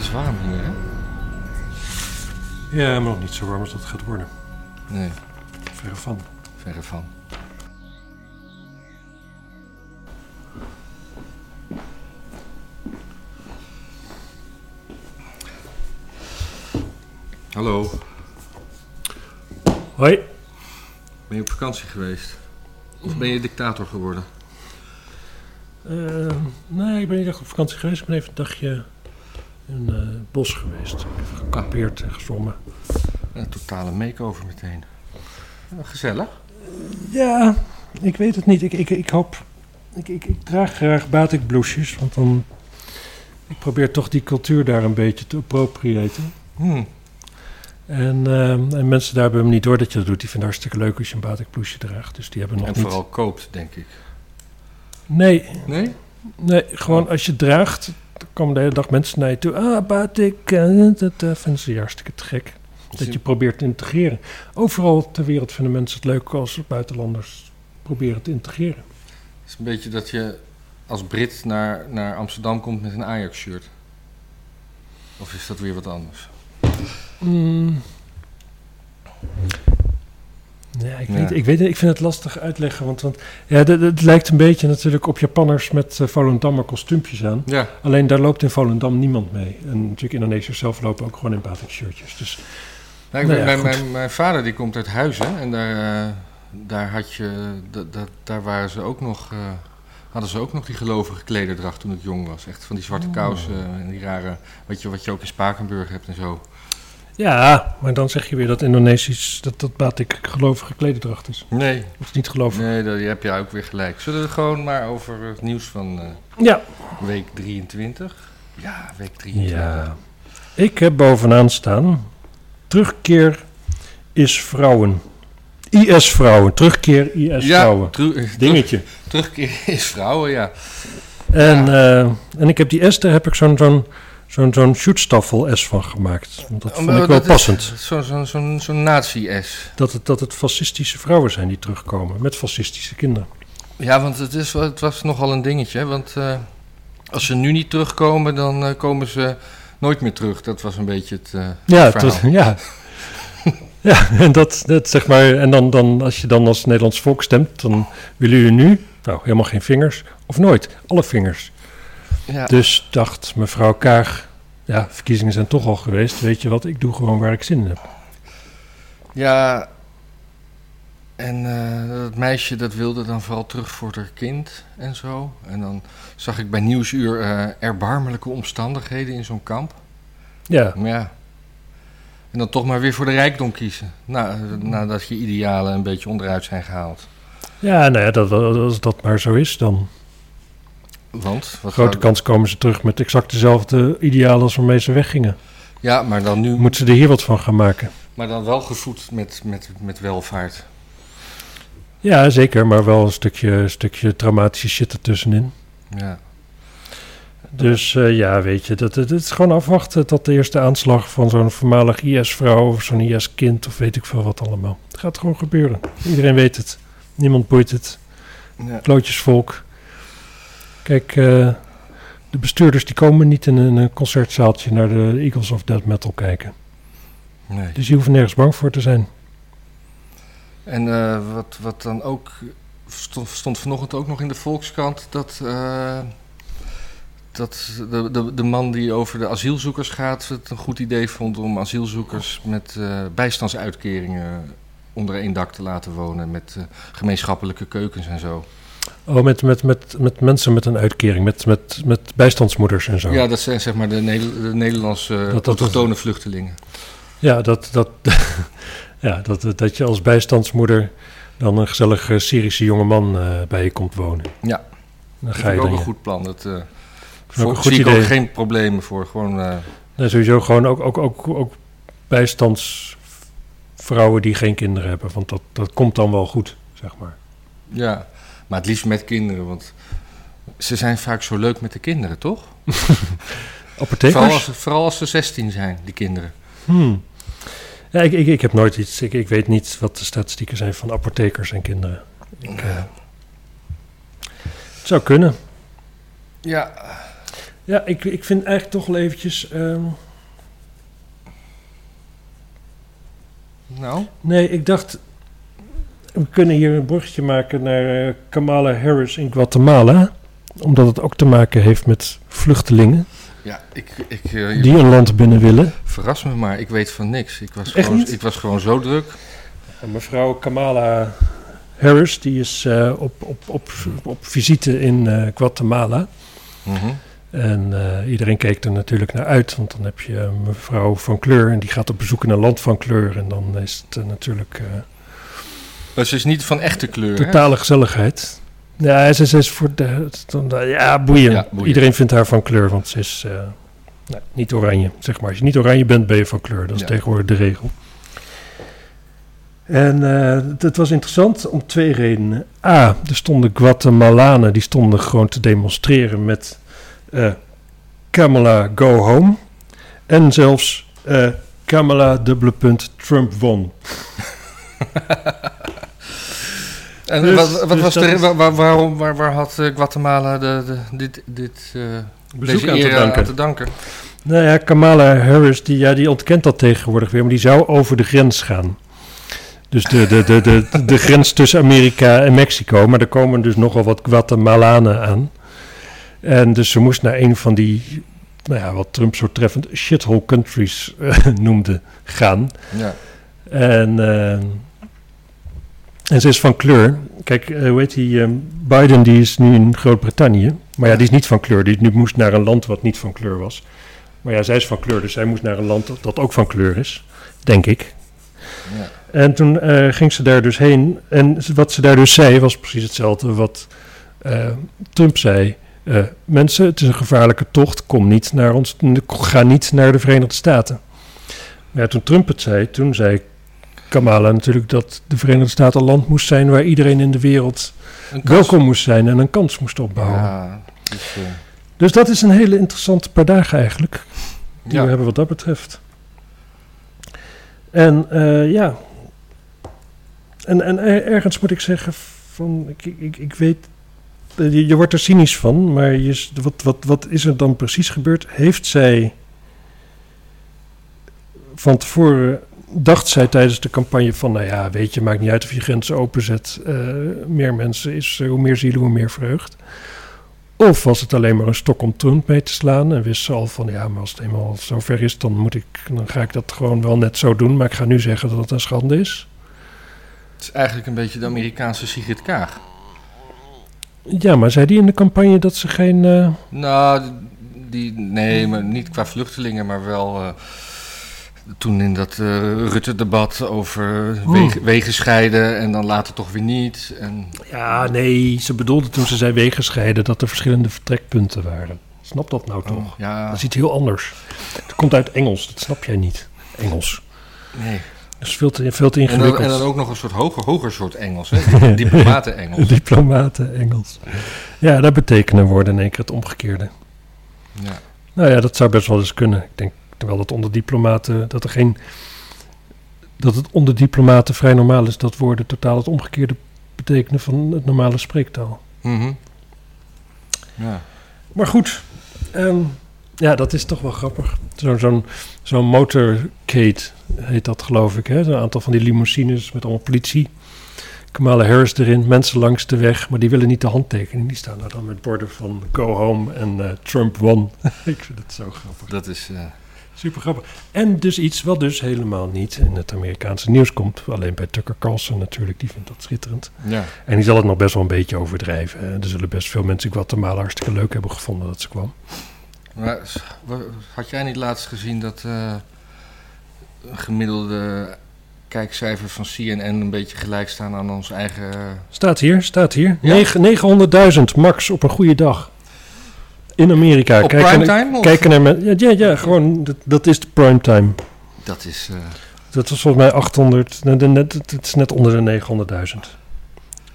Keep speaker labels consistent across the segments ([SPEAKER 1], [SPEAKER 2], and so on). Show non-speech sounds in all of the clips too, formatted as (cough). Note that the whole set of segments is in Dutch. [SPEAKER 1] is warm hier, hè?
[SPEAKER 2] Ja, maar nog niet zo warm als dat gaat worden.
[SPEAKER 1] Nee,
[SPEAKER 2] Verre van.
[SPEAKER 1] verre van. Hallo,
[SPEAKER 2] Hoi.
[SPEAKER 1] ben je op vakantie geweest? Of ben je dictator geworden?
[SPEAKER 2] Eh, nee, ik ben niet echt op vakantie geweest. Ik ben even een dagje in eh, het bos geweest. Even gekapeerd en gezwommen.
[SPEAKER 1] Een totale make-over meteen. Nou, Gezellig.
[SPEAKER 2] Ja, ik weet het niet. Ik, ik, ik hoop... Ik, ik, ik draag graag batikbloesjes, want dan... Ik probeer toch die cultuur daar een beetje te appropriëren.
[SPEAKER 1] Hm.
[SPEAKER 2] En, ehm, en mensen daar hebben hem niet door dat je dat doet. Die vinden het hartstikke leuk als je een batikbloesje draagt. Dus die hebben nog
[SPEAKER 1] En
[SPEAKER 2] niet...
[SPEAKER 1] vooral koopt, denk ik.
[SPEAKER 2] Nee,
[SPEAKER 1] Nee?
[SPEAKER 2] Nee, gewoon als je draagt, dan komen de hele dag mensen naar je toe. Ah, batik. eh, Dat eh, vinden ze hartstikke te gek. Dat je probeert te integreren. Overal ter wereld vinden mensen het leuk als buitenlanders proberen te integreren.
[SPEAKER 1] Het is een beetje dat je als Brit naar, naar Amsterdam komt met een Ajax-shirt. Of is dat weer wat anders?
[SPEAKER 2] Mm. Ja, ik,
[SPEAKER 1] Ja.
[SPEAKER 2] Weet, ik weet het, ik vind het lastig uitleggen. Want, want ja, d- d- het lijkt een beetje natuurlijk op Japanners met eh Volendammer kostuumpjes aan.
[SPEAKER 1] Ja,
[SPEAKER 2] Alleen daar loopt in Volendam niemand mee. En natuurlijk Indonesiërs zelf lopen ook gewoon in batik shirtjes. Dus
[SPEAKER 1] Nou, ik
[SPEAKER 2] Nou
[SPEAKER 1] ben-
[SPEAKER 2] ja,
[SPEAKER 1] mijn,
[SPEAKER 2] goed.
[SPEAKER 1] mijn, mijn vader die komt uit Huizen en daar, eh, daar, had je, da- da- daar waren ze ook nog, eh, hadden ze ook nog die gelovige klederdracht toen ik jong was. Echt van die zwarte
[SPEAKER 2] Oh.
[SPEAKER 1] kousen en die rare, wat je, wat je ook in Spakenburg hebt en zo.
[SPEAKER 2] Ja, maar dan zeg je weer dat Indonesisch, dat, dat batik gelovige klederdracht is.
[SPEAKER 1] Nee,
[SPEAKER 2] Of niet gelovig.
[SPEAKER 1] nee daar heb je ook weer gelijk. Zullen we gewoon maar over het nieuws van eh,
[SPEAKER 2] Ja.
[SPEAKER 1] week 23? Ja, week 23.
[SPEAKER 2] ja. Ik heb bovenaan staan, terugkeer is vrouwen. IS-vrouwen, terugkeer
[SPEAKER 1] Ja,
[SPEAKER 2] IS-vrouwen.
[SPEAKER 1] tru- eh, terug-
[SPEAKER 2] Dingetje.
[SPEAKER 1] terugkeer is vrouwen, ja.
[SPEAKER 2] En, eh, en ik heb die S, daar heb ik zo'n zo'n zo'n zo'n shootstaffel-S van gemaakt. Want dat vond ik wel
[SPEAKER 1] Dat is
[SPEAKER 2] passend.
[SPEAKER 1] Zo'n zo, zo, zo nazi-S.
[SPEAKER 2] Dat het, dat het fascistische vrouwen zijn die terugkomen, met fascistische kinderen.
[SPEAKER 1] Ja, want het, is, wel- het was nogal een dingetje. hè, Want eh, als ze nu niet terugkomen, dan eh, komen ze nooit meer terug. Dat was een beetje het eh,
[SPEAKER 2] Ja,
[SPEAKER 1] verhaal.
[SPEAKER 2] tot- ja. (laughs) ja, en dat, dat zeg maar. En dan, dan, als je dan als Nederlands volk stemt, dan willen jullie nu, nou, helemaal geen vingers, of nooit, alle vingers.
[SPEAKER 1] Ja.
[SPEAKER 2] Dus dacht mevrouw Kaag, ja, verkiezingen zijn toch al geweest, weet je wat, ik doe gewoon waar ik zin in heb.
[SPEAKER 1] ja, en eh, dat meisje dat wilde dan vooral terug voor haar kind en zo. En dan zag ik bij Nieuwsuur eh, erbarmelijke omstandigheden in zo'n kamp.
[SPEAKER 2] Ja,
[SPEAKER 1] Maar ja. En dan toch maar weer voor de rijkdom kiezen. Na, nadat je idealen een beetje onderuit zijn gehaald.
[SPEAKER 2] ja nou ja, dat, als dat maar zo is, dan
[SPEAKER 1] Want, wat
[SPEAKER 2] grote
[SPEAKER 1] zou-
[SPEAKER 2] kans komen ze terug met exact dezelfde idealen als waarmee ze weggingen.
[SPEAKER 1] Ja, maar dan nu
[SPEAKER 2] Moeten ze er hier wat van gaan maken?
[SPEAKER 1] Maar dan wel gevoed met, met, met welvaart.
[SPEAKER 2] Ja, zeker, maar wel een stukje, stukje dramatische shit ertussenin.
[SPEAKER 1] Ja.
[SPEAKER 2] Dus eh, ja, weet je, dat, dat, het is gewoon afwachten tot de eerste aanslag van zo'n voormalig IS-vrouw of zo'n IS-kind of weet ik veel wat allemaal. Het gaat gewoon gebeuren. Iedereen weet het. Niemand boeit het.
[SPEAKER 1] ja.
[SPEAKER 2] Klootjesvolk. Kijk, eh, de bestuurders die komen niet in een eh, concertzaaltje naar de Eagles of Dead Metal kijken.
[SPEAKER 1] Nee.
[SPEAKER 2] Dus je hoeft nergens bang voor te zijn.
[SPEAKER 1] En eh, wat, wat dan ook stond, stond vanochtend ook nog in de Volkskrant dat, eh, dat de, de, de man die over de asielzoekers gaat het een goed idee vond om asielzoekers met eh, bijstandsuitkeringen onder één dak te laten wonen met eh, gemeenschappelijke keukens en zo.
[SPEAKER 2] Oh, met, met, met, met mensen met een uitkering, met, met, met bijstandsmoeders en zo.
[SPEAKER 1] Ja, dat zijn zeg maar de, Neder- de Nederlandse
[SPEAKER 2] dat-
[SPEAKER 1] autochtone vluchtelingen.
[SPEAKER 2] Ja, dat, dat, (laughs) ja dat, dat je als bijstandsmoeder dan een gezellige Syrische jongeman eh, bij je komt wonen.
[SPEAKER 1] Ja.
[SPEAKER 2] Dan
[SPEAKER 1] Dat
[SPEAKER 2] ga
[SPEAKER 1] vind ik
[SPEAKER 2] je
[SPEAKER 1] ook
[SPEAKER 2] dan.
[SPEAKER 1] een
[SPEAKER 2] je-
[SPEAKER 1] goed plan. Dat, eh,
[SPEAKER 2] Vind ik ook een
[SPEAKER 1] Voor,
[SPEAKER 2] goed
[SPEAKER 1] zie ik
[SPEAKER 2] idee.
[SPEAKER 1] ook geen problemen voor. Gewoon, eh,
[SPEAKER 2] Nee, sowieso gewoon ook, ook, ook, ook bijstandsvrouwen die geen kinderen hebben, want dat, dat komt dan wel goed, zeg maar.
[SPEAKER 1] ja. Maar het liefst met kinderen, want ze zijn vaak zo leuk met de kinderen, toch? Vooral als,
[SPEAKER 2] Apothekers?
[SPEAKER 1] vooral als ze 16 zijn, die kinderen.
[SPEAKER 2] Hmm. Ja, ik, ik, ik heb nooit iets, ik, ik weet niet wat de statistieken zijn van apothekers en kinderen. Ik, eh, het zou kunnen.
[SPEAKER 1] Ja,
[SPEAKER 2] Ja, ik, ik vind eigenlijk toch wel eventjes... ehm,
[SPEAKER 1] Nou,
[SPEAKER 2] nee, ik dacht... We kunnen hier een bruggetje maken naar eh, Kamala Harris in Guatemala. Omdat het ook te maken heeft met vluchtelingen
[SPEAKER 1] ja, ik, ik, eh, je
[SPEAKER 2] die een land binnen willen.
[SPEAKER 1] verras me maar, ik weet van niks. Ik was,
[SPEAKER 2] Echt
[SPEAKER 1] gewoon,
[SPEAKER 2] niet?
[SPEAKER 1] ik was gewoon zo druk.
[SPEAKER 2] En mevrouw Kamala Harris, die is eh, op, op, op, op visite in eh, Guatemala.
[SPEAKER 1] Mhm.
[SPEAKER 2] En eh, iedereen keek er natuurlijk naar uit, want dan heb je een mevrouw van kleur en die gaat op bezoek in een land van kleur. En dan is het eh, natuurlijk eh,
[SPEAKER 1] Maar ze is niet van echte kleur, hè?
[SPEAKER 2] totale gezelligheid. Ja, ze, ze is voor de, het- dan- ja, boeien.
[SPEAKER 1] Ja, boeien.
[SPEAKER 2] Iedereen vindt haar van kleur, want ze is eh, nou, niet oranje. Zeg maar, als je niet oranje bent, ben je van kleur. Dat is
[SPEAKER 1] Ja.
[SPEAKER 2] tegenwoordig de regel. En eh het was interessant om twee redenen. A, er stonden Guatemalanen, die stonden gewoon te demonstreren met eh Kamala go home. En zelfs eh Kamala dubbele punt Trump won.
[SPEAKER 1] En
[SPEAKER 2] Dus-
[SPEAKER 1] wat, wat
[SPEAKER 2] dus
[SPEAKER 1] was
[SPEAKER 2] dat
[SPEAKER 1] de,
[SPEAKER 2] is-
[SPEAKER 1] waar, waar- waarom, waar, waar had eh, Guatemala de, de- dit, dit, eh,
[SPEAKER 2] Bezoek
[SPEAKER 1] deze
[SPEAKER 2] aan te
[SPEAKER 1] eer
[SPEAKER 2] danken.
[SPEAKER 1] aan te danken?
[SPEAKER 2] Nou ja, Kamala Harris, die, ja, die ontkent dat tegenwoordig weer, maar die zou over de grens gaan. Dus de, de, de, de, de, grens tussen Amerika en Mexico. Maar er komen dus nogal wat Guatemalanen aan. En dus ze moest naar een van die, nou ja, wat Trump zo treffend shithole countries eh, noemde, gaan.
[SPEAKER 1] Ja.
[SPEAKER 2] En, eh, en ze is van kleur. Kijk, eh, hoe heet die? eh, Biden die is nu in Groot-Brittannië. Maar ja, die is niet van kleur. Die nu moest naar een land wat niet van kleur was. Maar ja, zij is van kleur, dus zij moest naar een land dat, dat ook van kleur is. Denk ik.
[SPEAKER 1] Ja.
[SPEAKER 2] En toen eh, ging ze daar dus heen. En ze- wat ze daar dus zei was precies hetzelfde wat eh, Trump zei. Eh, mensen, het is een gevaarlijke tocht. Kom niet naar ons. Ga niet naar de Verenigde Staten. Maar ja, toen Trump het zei, toen zei Kamala natuurlijk dat de Verenigde Staten een land moest zijn waar iedereen in de wereld
[SPEAKER 1] Een kans.
[SPEAKER 2] welkom moest zijn en een kans moest opbouwen.
[SPEAKER 1] Ja, dus, eh,
[SPEAKER 2] Dus dat is een hele interessante paar dagen eigenlijk, die
[SPEAKER 1] ja.
[SPEAKER 2] we hebben wat dat betreft. En eh, ja, en, en er- ergens moet ik zeggen van, ik, ik- ik, ik weet, eh, je, je wordt er cynisch van, maar je, is- wat, wat, wat is er dan precies gebeurd? Heeft zij van tevoren dacht zij tijdens de campagne van, nou ja, weet je, maakt niet uit of je grenzen openzet. eh, meer mensen is, eh, hoe meer zielen, hoe meer vreugd. Of was het alleen maar een stok om Trump mee te slaan en wist ze al van, ja, maar als het eenmaal zover is, dan moet ik, dan ga ik dat gewoon wel net zo doen. Maar ik ga nu zeggen dat het een schande is.
[SPEAKER 1] Het is eigenlijk een beetje de Amerikaanse Sigrid Kaag.
[SPEAKER 2] Ja, maar zei die in de campagne dat ze geen, eh,
[SPEAKER 1] Nou, die, nee, maar niet qua vluchtelingen, maar wel eh, toen in dat eh, Rutte-debat over
[SPEAKER 2] Oh.
[SPEAKER 1] wegen, wegen scheiden en dan later toch weer niet. En,
[SPEAKER 2] ja, nee, ze bedoelde toen ze zei wegenscheiden dat er verschillende vertrekpunten waren. Snap dat nou toch?
[SPEAKER 1] oh, ja,
[SPEAKER 2] Dat is iets heel anders. Het komt uit Engels, dat snap jij niet. Engels.
[SPEAKER 1] nee.
[SPEAKER 2] Dat is veel te, veel te
[SPEAKER 1] En dan, en dan
[SPEAKER 2] ingewikkeld.
[SPEAKER 1] ook nog een soort hoger, hoger soort Engels,
[SPEAKER 2] (laughs)
[SPEAKER 1] hè? Diplomaten-Engels.
[SPEAKER 2] Diplomaten Engels. Ja, dat betekenen woorden in één keer het omgekeerde.
[SPEAKER 1] Ja.
[SPEAKER 2] Nou ja, dat zou best wel eens kunnen. Ik denk terwijl dat onder diplomaten, dat er geen. Dat het onder diplomaten vrij normaal is dat woorden totaal het omgekeerde betekenen van het normale spreektaal.
[SPEAKER 1] Mhm. ja.
[SPEAKER 2] Maar goed, ehm, ja, dat is toch wel grappig. Zo- Zo'n zo'n motorcade heet dat, geloof ik. Hè? Een aantal van die limousines met allemaal politie. Kamala Harris erin, mensen langs de weg, maar die willen niet de handtekening. Die staan daar dan met borden van go home en eh, Trump won. (laughs) ik vind het zo grappig.
[SPEAKER 1] Dat is... eh,
[SPEAKER 2] Super grappig. En dus iets wat dus helemaal niet in het Amerikaanse nieuws komt. Alleen bij Tucker Carlson natuurlijk, die vindt dat schitterend.
[SPEAKER 1] ja.
[SPEAKER 2] En die zal het nog best wel een beetje overdrijven. hè. Er zullen best veel mensen Guatemala hartstikke leuk hebben gevonden dat ze kwam.
[SPEAKER 1] Maar s- wa- had jij niet laatst gezien dat eh, een gemiddelde kijkcijfer van CNN een beetje gelijk staan aan ons eigen... eh,
[SPEAKER 2] Staat hier, staat hier.
[SPEAKER 1] Ja.
[SPEAKER 2] Negen- 900.000 max op een goede dag. In Amerika.
[SPEAKER 1] op
[SPEAKER 2] Kijken-
[SPEAKER 1] primetime? of-
[SPEAKER 2] Kijken naar men- ja, ja, ja, gewoon, dat, dat is de primetime.
[SPEAKER 1] Dat is... eh,
[SPEAKER 2] Dat was volgens mij 800, net, net, het- het is net onder de 900.000.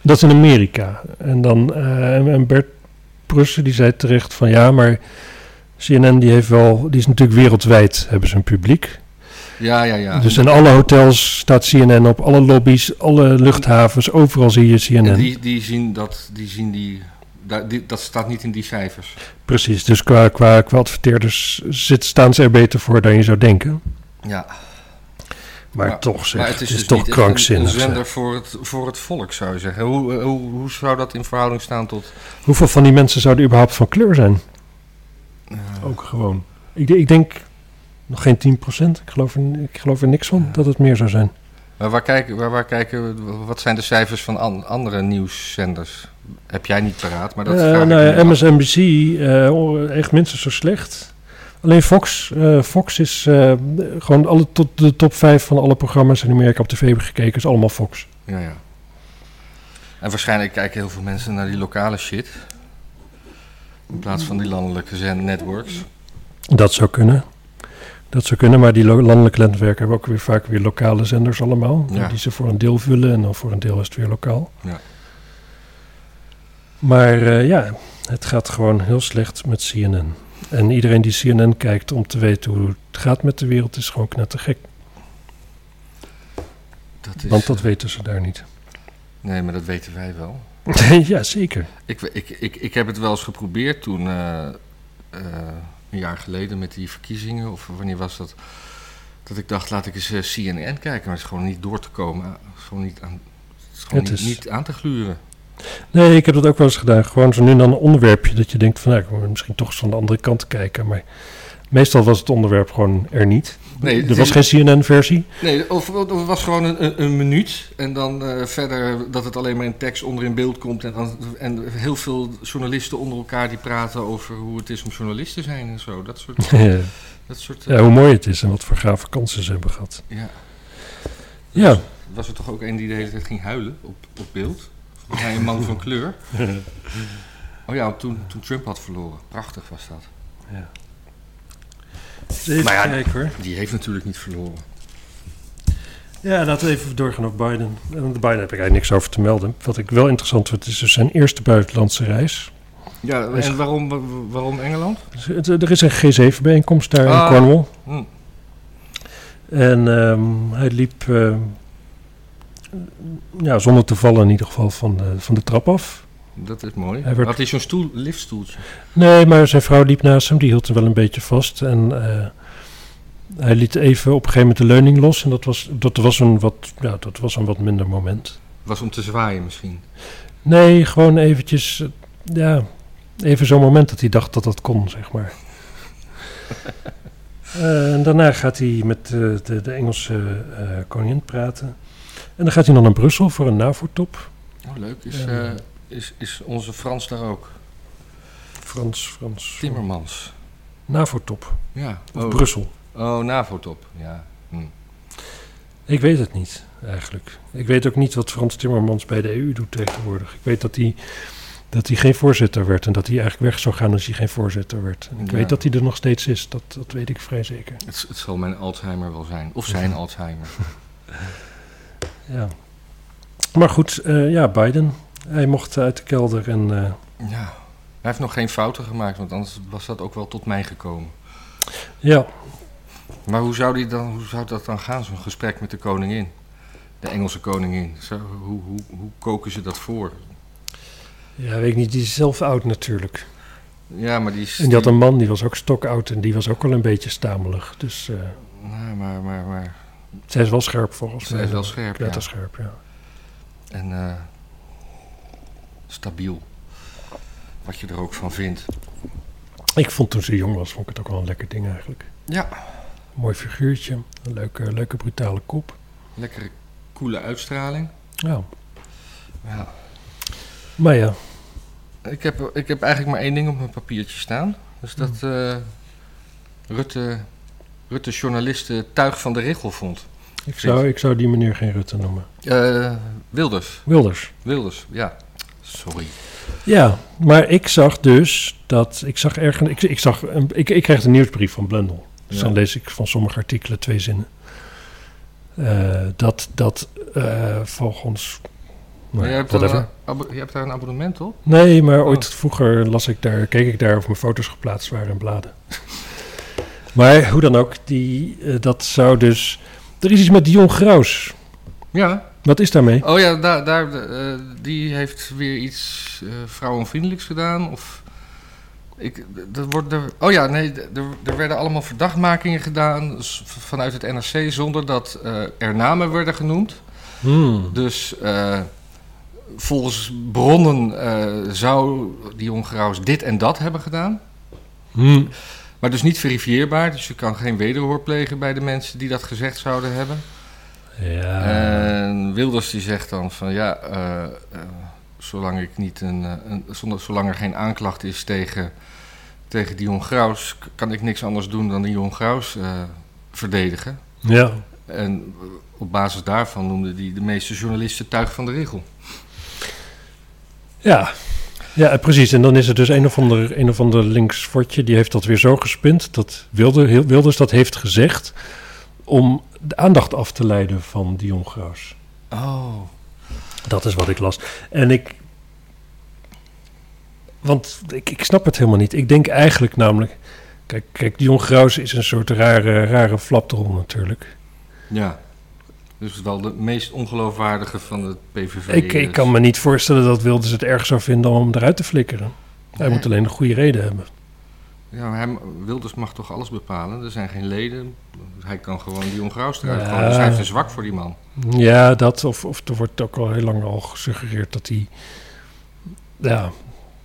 [SPEAKER 2] Dat is in Amerika. En dan, eh, en- en Bert Brussen die zei terecht van ja, maar CNN die heeft wel, die is natuurlijk wereldwijd, hebben ze een publiek.
[SPEAKER 1] ja, ja, ja.
[SPEAKER 2] Dus in alle hotels staat CNN op, alle lobby's, alle luchthavens, overal zie je
[SPEAKER 1] En
[SPEAKER 2] CNN.
[SPEAKER 1] die, die, zien dat, die zien die Daar- die- dat staat niet in die cijfers.
[SPEAKER 2] Precies, dus qua, qua, qua adverteerders zit, staan ze er beter voor dan je zou denken.
[SPEAKER 1] Ja,
[SPEAKER 2] Maar
[SPEAKER 1] Ja,
[SPEAKER 2] toch zeg,
[SPEAKER 1] maar
[SPEAKER 2] het is,
[SPEAKER 1] dus
[SPEAKER 2] toch
[SPEAKER 1] niet echt
[SPEAKER 2] krankzinnig.
[SPEAKER 1] Een, een
[SPEAKER 2] zeg.
[SPEAKER 1] zender voor het, voor het volk, zou je zeggen. Hoe, eh, hoe, hoe zou dat in verhouding staan tot...
[SPEAKER 2] Hoeveel van die mensen zouden überhaupt van kleur zijn? Ook gewoon. Ik, de- ik denk nog geen 10%. Ik geloof, er, ik geloof er niks van
[SPEAKER 1] Ja.
[SPEAKER 2] dat het meer zou zijn.
[SPEAKER 1] Maar waar kijken, waar, waar kijken, we- wat zijn de cijfers van an- andere nieuwszenders? Heb jij niet paraat, maar dat
[SPEAKER 2] Eh,
[SPEAKER 1] vraag ik
[SPEAKER 2] nou,
[SPEAKER 1] me
[SPEAKER 2] ja,
[SPEAKER 1] af.
[SPEAKER 2] MSNBC, eh, oh, echt minstens zo slecht. Alleen Fox, eh, Fox is eh, gewoon alle, tot de top 5 van alle programma's in Amerika op tv hebben gekeken, is allemaal Fox.
[SPEAKER 1] Ja, ja. En waarschijnlijk kijken heel veel mensen naar die lokale shit. In plaats van die landelijke zendnetworks.
[SPEAKER 2] Dat zou kunnen. Dat zou kunnen, maar die lo- landelijke netwerken hebben ook weer vaak weer lokale zenders allemaal.
[SPEAKER 1] Ja.
[SPEAKER 2] Die ze voor een deel vullen en dan voor een deel is het weer lokaal.
[SPEAKER 1] Ja.
[SPEAKER 2] Maar eh, ja, het gaat gewoon heel slecht met CNN. En iedereen die CNN kijkt om te weten hoe het gaat met de wereld is gewoon knettergek.
[SPEAKER 1] Dat is, eh,
[SPEAKER 2] Want dat weten ze daar niet. (laughs)
[SPEAKER 1] Nee, maar dat weten wij wel.
[SPEAKER 2] ja, zeker.
[SPEAKER 1] Ik, ik, ik, ik heb het wel eens geprobeerd toen, eh, eh, een jaar geleden met die verkiezingen, of wanneer was dat? Dat ik dacht, laat ik eens eh, CNN kijken, maar het is gewoon niet door te komen. Het is gewoon niet aan, het is gewoon
[SPEAKER 2] Het
[SPEAKER 1] niet,
[SPEAKER 2] is-
[SPEAKER 1] niet aan te gluren.
[SPEAKER 2] Nee, ik heb dat ook wel eens gedaan. Gewoon zo nu en dan een onderwerpje dat je denkt van... Nou, ik moet misschien toch eens van de andere kant kijken. Maar meestal was het onderwerp gewoon er niet.
[SPEAKER 1] Nee,
[SPEAKER 2] er
[SPEAKER 1] het
[SPEAKER 2] was
[SPEAKER 1] is-
[SPEAKER 2] geen (laughs) CNN-versie.
[SPEAKER 1] Nee, of, of het was gewoon een, een, een minuut en dan eh, verder dat het alleen maar in tekst onder in beeld komt. En, dan, en heel veel journalisten onder elkaar die praten over hoe het is om journalist te zijn en zo. Dat
[SPEAKER 2] (laughs)
[SPEAKER 1] soort... Dat soort eh,
[SPEAKER 2] ja, hoe mooi het is en wat voor gave kansen ze hebben gehad.
[SPEAKER 1] ja.
[SPEAKER 2] Ja,
[SPEAKER 1] Was er toch ook een die de hele tijd ging huilen op, op beeld? Volgens mij een man van kleur.
[SPEAKER 2] (laughs)
[SPEAKER 1] Oh ja, toen, toen Trump had verloren. Prachtig was dat.
[SPEAKER 2] even
[SPEAKER 1] Maar ja,
[SPEAKER 2] kijken hoor.
[SPEAKER 1] Die heeft natuurlijk niet verloren.
[SPEAKER 2] Ja, laten we even doorgaan op Biden. Eh, Want Biden heb ik eigenlijk niks over te melden. Wat ik wel interessant vind, is dus zijn eerste buitenlandse reis.
[SPEAKER 1] Ja,
[SPEAKER 2] Is-
[SPEAKER 1] en waarom, waarom Engeland?
[SPEAKER 2] Dus het- Er is een G7-bijeenkomst daar
[SPEAKER 1] Ah.
[SPEAKER 2] in Cornwall.
[SPEAKER 1] Hm.
[SPEAKER 2] En ehm, hij liep, ehm, ja, zonder te vallen in ieder geval, van de, van de trap af.
[SPEAKER 1] Dat is mooi.
[SPEAKER 2] Hij werd-
[SPEAKER 1] Had hij zo'n stoel, liftstoeltje?
[SPEAKER 2] Nee, maar zijn vrouw liep naast hem, die hield hem wel een beetje vast. En eh, hij liet even op een gegeven moment de leuning los. En dat was, dat was, een, wat, ja, dat was een wat minder moment.
[SPEAKER 1] Was om te zwaaien misschien.
[SPEAKER 2] Nee, gewoon eventjes, eh, ja, even zo'n moment dat hij dacht dat dat kon, zeg maar. Eh, en daarna gaat hij met eh, de, de Engelse eh, koningin praten. En dan gaat hij dan naar Brussel voor een NAVO-top.
[SPEAKER 1] Oh, leuk. Is,
[SPEAKER 2] Ja.
[SPEAKER 1] eh, is, is onze Frans daar ook?
[SPEAKER 2] Frans, Frans.
[SPEAKER 1] Timmermans.
[SPEAKER 2] NAVO-top.
[SPEAKER 1] Ja.
[SPEAKER 2] Of
[SPEAKER 1] Oh,
[SPEAKER 2] Brussel.
[SPEAKER 1] oh NAVO-top. Ja. Hm.
[SPEAKER 2] Ik weet het niet, eigenlijk. Ik weet ook niet wat Frans Timmermans bij de EU doet tegenwoordig. Ik weet dat hij, dat hij geen voorzitter werd en dat hij eigenlijk weg zou gaan als hij geen voorzitter werd. En ik
[SPEAKER 1] Ja.
[SPEAKER 2] weet dat hij er nog steeds is, dat, dat weet ik vrij zeker.
[SPEAKER 1] Het, het zal mijn Alzheimer wel zijn. Of zijn Alzheimer.
[SPEAKER 2] Ja. Maar goed, eh, ja, Biden. Hij mocht uit de kelder en eh,
[SPEAKER 1] Ja. Hij heeft nog geen fouten gemaakt, want anders was dat ook wel tot mij gekomen.
[SPEAKER 2] ja,
[SPEAKER 1] Maar hoe zou, die dan, hoe zou dat dan gaan, zo'n gesprek met de koningin? De Engelse koningin. Zo, hoe, hoe, hoe koken ze dat voor?
[SPEAKER 2] ja, weet ik niet, die is zelf oud natuurlijk.
[SPEAKER 1] Ja, maar die is...
[SPEAKER 2] En die had een man, die was ook stokoud en die was ook al een beetje stamelig. Dus eh,
[SPEAKER 1] Nou, maar, maar, maar...
[SPEAKER 2] zij is wel scherp volgens mij.
[SPEAKER 1] Zij is wel scherp, ja.
[SPEAKER 2] Knetterscherp, ja.
[SPEAKER 1] En eh, stabiel. Wat je er ook van vindt.
[SPEAKER 2] Ik vond toen ze jong was, vond ik het ook wel een lekker ding eigenlijk.
[SPEAKER 1] Ja,
[SPEAKER 2] Mooi figuurtje, een leuke, leuke brutale kop.
[SPEAKER 1] lekkere, coole uitstraling.
[SPEAKER 2] Ja.
[SPEAKER 1] Ja.
[SPEAKER 2] Maar ja,
[SPEAKER 1] Ik heb, ik heb eigenlijk maar één ding op mijn papiertje staan. Dus
[SPEAKER 2] Hm.
[SPEAKER 1] dat eh, Rutte, Rutte journalisten tuig van de regel vond.
[SPEAKER 2] ik zou, ik zou die meneer geen Rutte noemen.
[SPEAKER 1] Eh, Wilders.
[SPEAKER 2] Wilders.
[SPEAKER 1] Wilders, ja. Sorry.
[SPEAKER 2] Ja, maar ik zag dus dat. Ik zag ergens. Ik, ik, zag een, ik, ik kreeg een nieuwsbrief van Blendel. Dus
[SPEAKER 1] Ja.
[SPEAKER 2] dan lees ik van sommige artikelen twee zinnen. Eh, dat dat eh, volgens.
[SPEAKER 1] Maar
[SPEAKER 2] nou,
[SPEAKER 1] jij hebt, eh, daar
[SPEAKER 2] whatever.
[SPEAKER 1] een, abo- jij hebt daar een abonnement op?
[SPEAKER 2] Nee, maar
[SPEAKER 1] Oh.
[SPEAKER 2] ooit vroeger las ik daar, keek ik daar of mijn foto's geplaatst waren in bladen. (laughs) maar hoe dan ook, die, eh, dat zou dus. Er is iets met Dion Graus.
[SPEAKER 1] Ja.
[SPEAKER 2] Wat is daarmee?
[SPEAKER 1] Oh ja, daar, daar, eh, die heeft weer iets eh, vrouwenvriendelijks gedaan. Of ik, er wordt er, oh ja, nee, er, er werden allemaal verdachtmakingen gedaan s- vanuit het NRC zonder dat eh, er namen werden genoemd.
[SPEAKER 2] Hmm.
[SPEAKER 1] Dus eh, volgens bronnen eh, zou die Hongeraus dit en dat hebben gedaan.
[SPEAKER 2] Hmm.
[SPEAKER 1] Maar dus niet verifieerbaar, dus je kan geen wederhoor plegen bij de mensen die dat gezegd zouden hebben.
[SPEAKER 2] Ja.
[SPEAKER 1] En Wilders die zegt dan van ja, eh, eh, zolang, ik niet een, eh, een- zonder, zolang er geen aanklacht is tegen, tegen Dion Graus, k- kan ik niks anders doen dan Dion Graus eh, verdedigen.
[SPEAKER 2] ja.
[SPEAKER 1] En eh, op basis daarvan noemde hij de meeste journalisten tuig van de regel.
[SPEAKER 2] Ja. Ja, eh, precies. En dan is er dus een of ander, een of ander links fortje, die heeft dat weer zo gespind dat Wilder, heel- Wilders dat heeft gezegd om de aandacht af te leiden van Dion Graus.
[SPEAKER 1] Oh.
[SPEAKER 2] Dat is wat ik las. En ik. Want ik, ik snap het helemaal niet. Ik denk eigenlijk namelijk. Kijk, kijk Dion Graus is een soort rare, rare flapdrol natuurlijk.
[SPEAKER 1] Ja. Dus wel de meest ongeloofwaardige van het PVV.
[SPEAKER 2] Ik, ik kan me niet voorstellen dat Wilders het erg zou vinden om hem eruit te flikkeren. Hij moet alleen een goede reden hebben.
[SPEAKER 1] Ja, maar hij, Wilders mag toch alles bepalen? Er zijn geen leden. Hij kan gewoon Dion Graus eruit
[SPEAKER 2] Ja.
[SPEAKER 1] gooien. Dus hij heeft een zwak voor die man.
[SPEAKER 2] Ja, dat. Of, of er wordt ook al heel lang al gesuggereerd dat hij. Ja,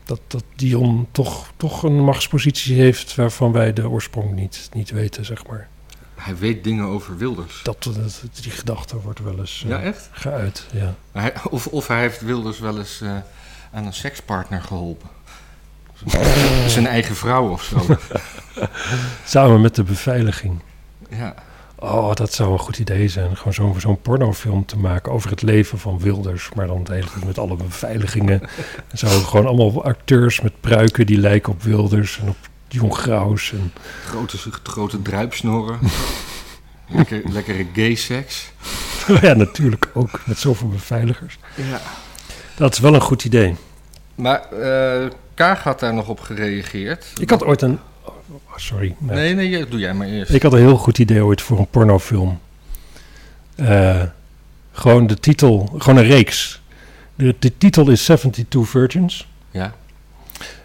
[SPEAKER 2] dat, dat Dion toch, toch een machtspositie heeft waarvan wij de oorsprong niet, niet weten, zeg maar.
[SPEAKER 1] Hij weet dingen over Wilders.
[SPEAKER 2] Dat, dat- die gedachte wordt wel eens. eh,
[SPEAKER 1] Ja, echt?
[SPEAKER 2] Geuit, ja.
[SPEAKER 1] Hij, (laughs) of, of hij heeft Wilders wel eens eh, aan een sekspartner geholpen.
[SPEAKER 2] (laughs)
[SPEAKER 1] Zijn eigen vrouw of zo.
[SPEAKER 2] Samen met de beveiliging.
[SPEAKER 1] ja.
[SPEAKER 2] Oh, dat zou een goed idee zijn. Gewoon zo'n zo'n pornofilm te maken over het leven van Wilders. Maar dan de hele tijd met alle beveiligingen. En zo gewoon allemaal acteurs met pruiken die lijken op Wilders en op Jong Graus. En, (laughs)
[SPEAKER 1] Grote, grote druipsnorren. Lekker, lekkere gay seks.
[SPEAKER 2] ja, natuurlijk ook met zoveel beveiligers.
[SPEAKER 1] Ja.
[SPEAKER 2] Dat is wel een goed idee.
[SPEAKER 1] Maar eh Kaag had daar nog op gereageerd.
[SPEAKER 2] Ik had ooit een... oh, sorry. Nee.
[SPEAKER 1] Nee, nee, je- doe jij maar eerst.
[SPEAKER 2] Dus Ik had een heel goed idee ooit voor een pornofilm. Eh, gewoon de titel, gewoon een reeks. De, de titel is 72 Virgins.
[SPEAKER 1] Ja.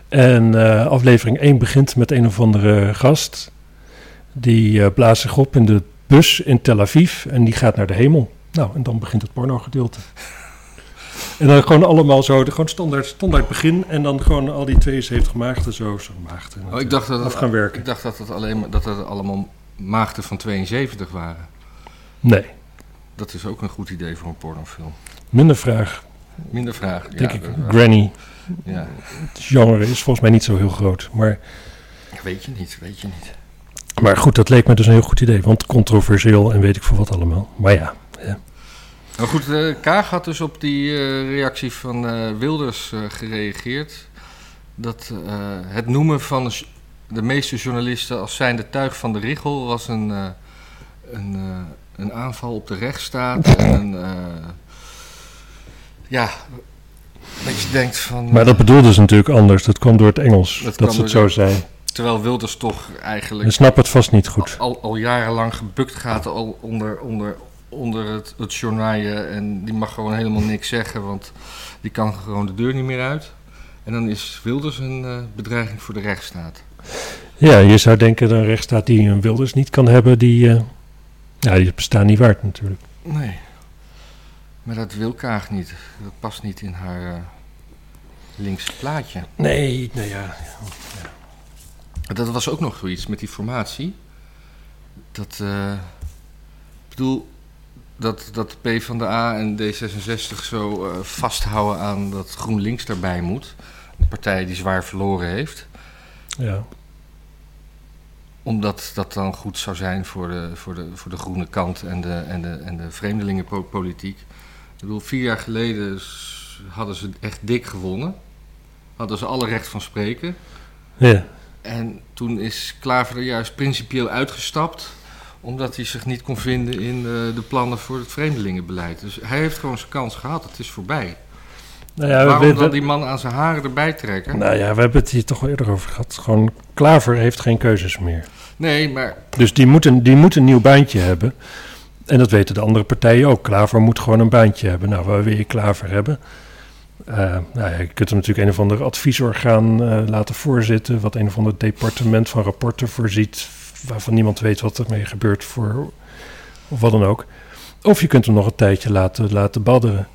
[SPEAKER 2] En eh, aflevering 1 begint met een of andere gast. Die eh, blaast zich op in de bus in Tel Aviv en die gaat naar de hemel. Nou, en dan begint het pornogedeelte. En dan gewoon allemaal zo, de- gewoon standaard, standaard begin. En dan gewoon al die 72 maagden zo, zo maagden.
[SPEAKER 1] Oh, ik dacht dat het-
[SPEAKER 2] af gaan werken.
[SPEAKER 1] Ik dacht dat het alleen maar, dat het allemaal maagden van 72 waren.
[SPEAKER 2] Nee,
[SPEAKER 1] Dat is ook een goed idee voor een pornofilm.
[SPEAKER 2] minder vraag,
[SPEAKER 1] Minder vraag.
[SPEAKER 2] denk
[SPEAKER 1] ja,
[SPEAKER 2] ik.
[SPEAKER 1] dat-
[SPEAKER 2] Granny.
[SPEAKER 1] ja.
[SPEAKER 2] Het genre is volgens mij niet zo heel groot. Maar,
[SPEAKER 1] Weet je niet, weet je niet.
[SPEAKER 2] maar goed, dat leek me dus een heel goed idee. Want controversieel en weet ik veel wat allemaal. Maar ja,
[SPEAKER 1] Maar goed, eh, Kaag had dus op die eh, reactie van eh, Wilders eh, gereageerd. Dat eh, het noemen van de- de meeste journalisten als zijnde tuig van de richel was een, eh, een, eh, een aanval op de rechtsstaat. En een, eh, ja, dat je denkt van...
[SPEAKER 2] maar dat bedoelde ze natuurlijk anders. Dat kwam door het Engels,
[SPEAKER 1] Dat
[SPEAKER 2] dat,
[SPEAKER 1] kwam
[SPEAKER 2] ze het
[SPEAKER 1] door-
[SPEAKER 2] zo zei.
[SPEAKER 1] Terwijl Wilders toch
[SPEAKER 2] We
[SPEAKER 1] eigenlijk
[SPEAKER 2] snappen het vast niet goed.
[SPEAKER 1] al, al jarenlang gebukt gaat al onder, onder, onder het, het journaaien. En die mag gewoon helemaal niks zeggen, want die kan gewoon de deur niet meer uit. En dan is Wilders een eh, bedreiging voor de rechtsstaat.
[SPEAKER 2] Ja, je zou denken dat een rechtsstaat die een Wilders niet kan hebben, die, eh ja, die bestaan niet waard natuurlijk.
[SPEAKER 1] Nee. Maar dat wil Kaag niet. Dat past niet in haar eh, linkse plaatje.
[SPEAKER 2] Nee, nou ja.
[SPEAKER 1] Dat was ook nog zoiets met die formatie. Dat, eh, ik bedoel, dat, dat P van de A en D66 zo eh, vasthouden aan dat GroenLinks daarbij moet. Een partij die zwaar verloren heeft.
[SPEAKER 2] ja.
[SPEAKER 1] Omdat dat dan goed zou zijn voor de, voor de, voor de groene kant en de, en de, en de vreemdelingenpolitiek. Ik bedoel, vier jaar geleden s- hadden ze echt dik gewonnen. Hadden ze alle recht van spreken.
[SPEAKER 2] Ja.
[SPEAKER 1] En toen is Klaver er juist principieel uitgestapt omdat hij zich niet kon vinden in eh, de plannen voor het vreemdelingenbeleid. Dus hij heeft gewoon zijn kans gehad. Het is voorbij.
[SPEAKER 2] Nou, ja, we,
[SPEAKER 1] Waarom
[SPEAKER 2] we-
[SPEAKER 1] dan die man aan zijn haren erbij trekken?
[SPEAKER 2] nou ja, we hebben het hier toch al eerder over gehad. Gewoon, Klaver heeft geen keuzes meer.
[SPEAKER 1] Nee, maar
[SPEAKER 2] Dus die moet een, die moet een nieuw baantje hebben. En dat weten de andere partijen ook. Klaver moet gewoon een baantje hebben. Nou, waar wil je Klaver hebben? Eh, nou ja, je kunt hem natuurlijk een of ander adviesorgaan eh, laten voorzitten, wat een of ander departement van rapporten voorziet, waarvan niemand weet wat ermee gebeurt voor, of wat dan ook. Of je kunt hem nog een tijdje laten, laten badderen,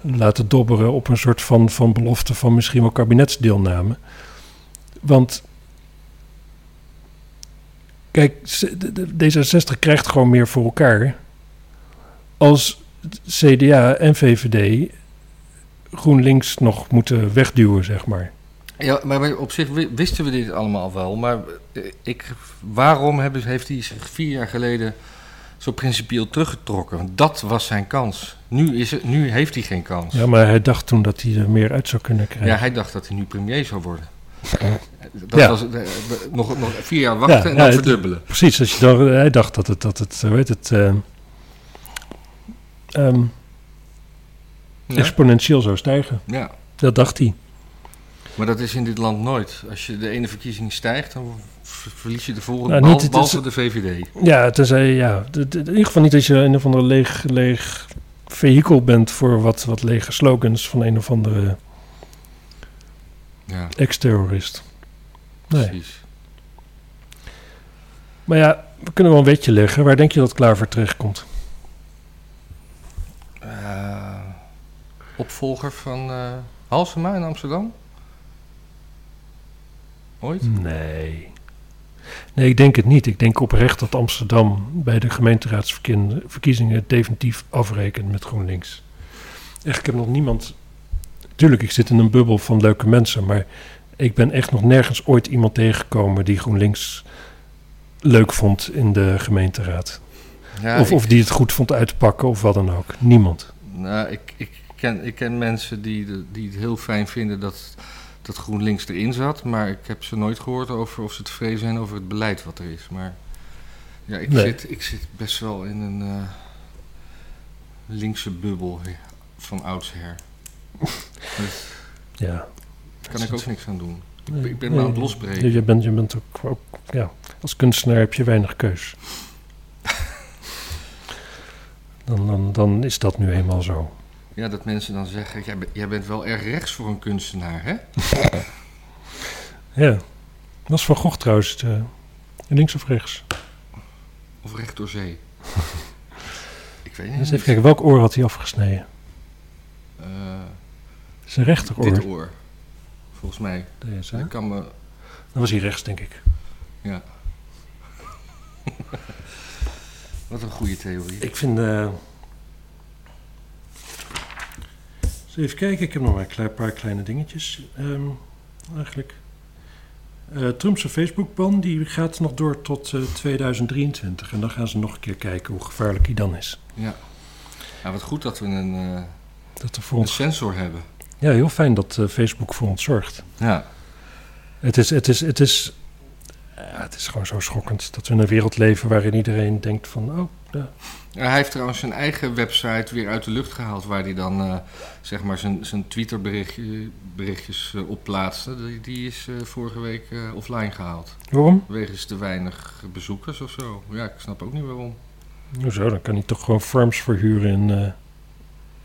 [SPEAKER 2] laten dobberen op een soort van, van belofte van misschien wel kabinetsdeelname. Want, kijk, ze- de- de- D66 krijgt gewoon meer voor elkaar als CDA en VVD GroenLinks nog moeten wegduwen, zeg maar.
[SPEAKER 1] Ja, maar maar op zich wi- wisten we dit allemaal wel. Maar eh, ik, waarom hebben- heeft hij zich vier jaar geleden zo principieel teruggetrokken? Want dat was zijn kans. Nu, is het, nu heeft hij geen kans.
[SPEAKER 2] Ja, maar hij dacht toen dat hij er meer uit zou kunnen krijgen.
[SPEAKER 1] Ja, hij dacht dat hij nu premier zou worden. Dat
[SPEAKER 2] Ja.
[SPEAKER 1] was, eh, we- nog, nog vier jaar wachten
[SPEAKER 2] Ja,
[SPEAKER 1] en
[SPEAKER 2] ja,
[SPEAKER 1] dan
[SPEAKER 2] het-
[SPEAKER 1] verdubbelen.
[SPEAKER 2] Precies, als je dan, hij dacht dat het, dat het hoe heet het, eh, ehm,
[SPEAKER 1] Ja?
[SPEAKER 2] exponentieel zou stijgen.
[SPEAKER 1] ja,
[SPEAKER 2] Dat dacht hij.
[SPEAKER 1] maar dat is in dit land nooit. Als je de ene verkiezing stijgt, dan ver- verlies je de volgende,
[SPEAKER 2] Nou,
[SPEAKER 1] behal-
[SPEAKER 2] niet- het is-
[SPEAKER 1] behalve de VVD.
[SPEAKER 2] Ja, tenzij, ja, d- d- in ieder geval niet dat je een of ander leeg, leeg vehikel bent voor wat, wat lege slogans van een of andere
[SPEAKER 1] Ja,
[SPEAKER 2] ex-terrorist. Nee.
[SPEAKER 1] precies.
[SPEAKER 2] Maar ja, we kunnen wel een wetje leggen. Waar denk je dat Klaver terechtkomt?
[SPEAKER 1] Eh, opvolger van eh Halsema in Amsterdam? Ooit?
[SPEAKER 2] Nee. Nee, ik denk het niet. Ik denk oprecht dat Amsterdam bij de gemeenteraadsverkiezingen definitief afrekent met GroenLinks. Echt, ik heb nog niemand. Tuurlijk, ik zit in een bubbel van leuke mensen, maar ik ben echt nog nergens ooit iemand tegengekomen die GroenLinks leuk vond in de gemeenteraad.
[SPEAKER 1] Ja,
[SPEAKER 2] of,
[SPEAKER 1] ik-
[SPEAKER 2] of die het goed vond uitpakken of wat dan ook. Niemand.
[SPEAKER 1] Nou, ik, ik, ken, ik ken mensen die, de- die het heel fijn vinden dat, dat GroenLinks erin zat. Maar ik heb ze nooit gehoord over of ze tevreden zijn over het beleid wat er is. Maar ja, ik,
[SPEAKER 2] Nee.
[SPEAKER 1] zit, ik zit best wel in een eh, linkse bubbel he- van
[SPEAKER 2] (laughs)
[SPEAKER 1] oudsher. Dus
[SPEAKER 2] Ja.
[SPEAKER 1] Daar kan ik ook niks aan doen.
[SPEAKER 2] Nee,
[SPEAKER 1] ik ben
[SPEAKER 2] nee. Dus
[SPEAKER 1] maar aan het losbreken.
[SPEAKER 2] Je, je bent, je bent ook, ook- ja, als kunstenaar heb je weinig keus. Dan, dan, dan is dat nu eenmaal zo.
[SPEAKER 1] Ja, dat mensen dan zeggen, jij, bent- jij bent wel erg rechts voor een kunstenaar, hè?
[SPEAKER 2] Ja. Was Van Gogh trouwens eh, links of rechts?
[SPEAKER 1] Of recht door zee?
[SPEAKER 2] (laughs)
[SPEAKER 1] ik weet
[SPEAKER 2] Eens
[SPEAKER 1] niet.
[SPEAKER 2] even kijken, welk oor had hij afgesneden?
[SPEAKER 1] Eh,
[SPEAKER 2] Zijn rechteroor.
[SPEAKER 1] dit oor. Volgens mij.
[SPEAKER 2] Deze, hè?
[SPEAKER 1] Ik kan me
[SPEAKER 2] Dan was hij rechts, denk ik.
[SPEAKER 1] Wat een goede theorie.
[SPEAKER 2] Ik vind... eh, eens even kijken, ik heb nog maar een klein- paar kleine dingetjes. ehm, eigenlijk. Eh Trumpse Facebook-ban die gaat nog door tot eh, 2023. En dan gaan ze nog een keer kijken hoe gevaarlijk die dan is.
[SPEAKER 1] Ja. Nou, wat goed dat we een, eh,
[SPEAKER 2] Dat er voor
[SPEAKER 1] een
[SPEAKER 2] ons...
[SPEAKER 1] sensor hebben.
[SPEAKER 2] Ja, heel fijn dat eh, Facebook voor ons zorgt.
[SPEAKER 1] Ja.
[SPEAKER 2] Het is, het, is, het, is, ja, het is gewoon zo schokkend dat we in een wereld leven waarin iedereen denkt van... Oh,
[SPEAKER 1] En Hij heeft trouwens zijn eigen website weer uit de lucht gehaald, waar hij dan eh, zeg maar zijn, zijn Twitter-berichtjes op plaatste. Die, die is eh, vorige week eh, offline gehaald.
[SPEAKER 2] waarom?
[SPEAKER 1] Wegens te weinig bezoekers of zo. Ja, ik snap ook niet waarom.
[SPEAKER 2] Hoezo, dan kan hij toch gewoon farms verhuren in eh,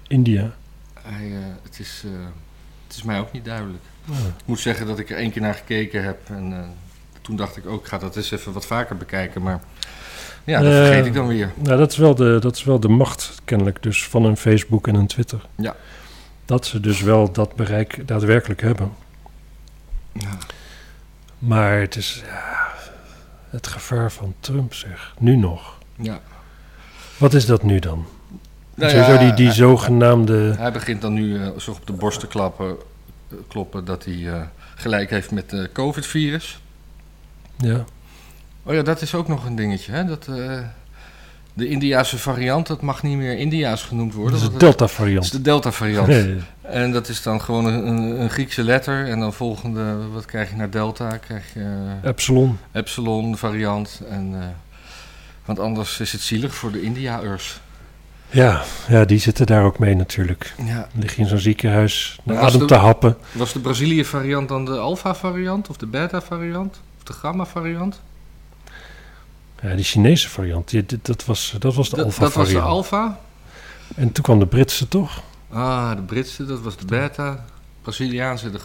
[SPEAKER 2] India.
[SPEAKER 1] Hij, eh, het, is, eh, het is mij ook niet duidelijk.
[SPEAKER 2] Ja.
[SPEAKER 1] Ik moet zeggen dat ik er één keer naar gekeken heb. En eh, toen dacht ik ook, ik ga dat eens even wat vaker bekijken. Maar ja, dat
[SPEAKER 2] Eh,
[SPEAKER 1] vergeet ik dan weer.
[SPEAKER 2] Nou, dat is, wel de, dat is wel de macht, kennelijk, dus van een Facebook en een Twitter.
[SPEAKER 1] Ja.
[SPEAKER 2] Dat ze dus wel dat bereik daadwerkelijk hebben.
[SPEAKER 1] Ja.
[SPEAKER 2] Maar het is ja, het gevaar van Trump, zeg. Nu nog.
[SPEAKER 1] ja.
[SPEAKER 2] Wat is dat nu dan?
[SPEAKER 1] Nou
[SPEAKER 2] Sowieso
[SPEAKER 1] ja,
[SPEAKER 2] die, die
[SPEAKER 1] hij-
[SPEAKER 2] zogenaamde...
[SPEAKER 1] Hij begint dan nu eh, zich op de borst te klappen, eh, kloppen dat hij eh, gelijk heeft met het COVID-virus.
[SPEAKER 2] Ja,
[SPEAKER 1] Oh ja, dat is ook nog een dingetje. Hè? Dat, eh, de Indiaanse variant, dat mag niet meer Indiaas genoemd
[SPEAKER 2] dat
[SPEAKER 1] worden.
[SPEAKER 2] is de
[SPEAKER 1] want het- dat is
[SPEAKER 2] Delta-variant.
[SPEAKER 1] de Delta-variant.
[SPEAKER 2] Nee,
[SPEAKER 1] En dat is dan gewoon een, een- een Griekse letter. En dan volgende, wat krijg je naar Delta? Krijg je eh,
[SPEAKER 2] Epsilon.
[SPEAKER 1] Epsilon-variant. En, eh, want anders is het zielig voor de Indiaërs.
[SPEAKER 2] Ja, ja, die zitten daar ook mee natuurlijk.
[SPEAKER 1] Ja.
[SPEAKER 2] Dan lig je in zo'n ziekenhuis, naar
[SPEAKER 1] Maar was
[SPEAKER 2] adem
[SPEAKER 1] de-
[SPEAKER 2] te happen.
[SPEAKER 1] Was de Brazilië-variant dan de alpha-variant? Of de beta-variant? Of de gamma-variant?
[SPEAKER 2] Ja, die Chinese variant, die, dit- dat, was, dat was de
[SPEAKER 1] Dat, dat was de
[SPEAKER 2] alfa-variant.
[SPEAKER 1] alfa.
[SPEAKER 2] En toen kwam de Britse toch?
[SPEAKER 1] Ah, de Britse, dat was de beta. Braziliaanse. De...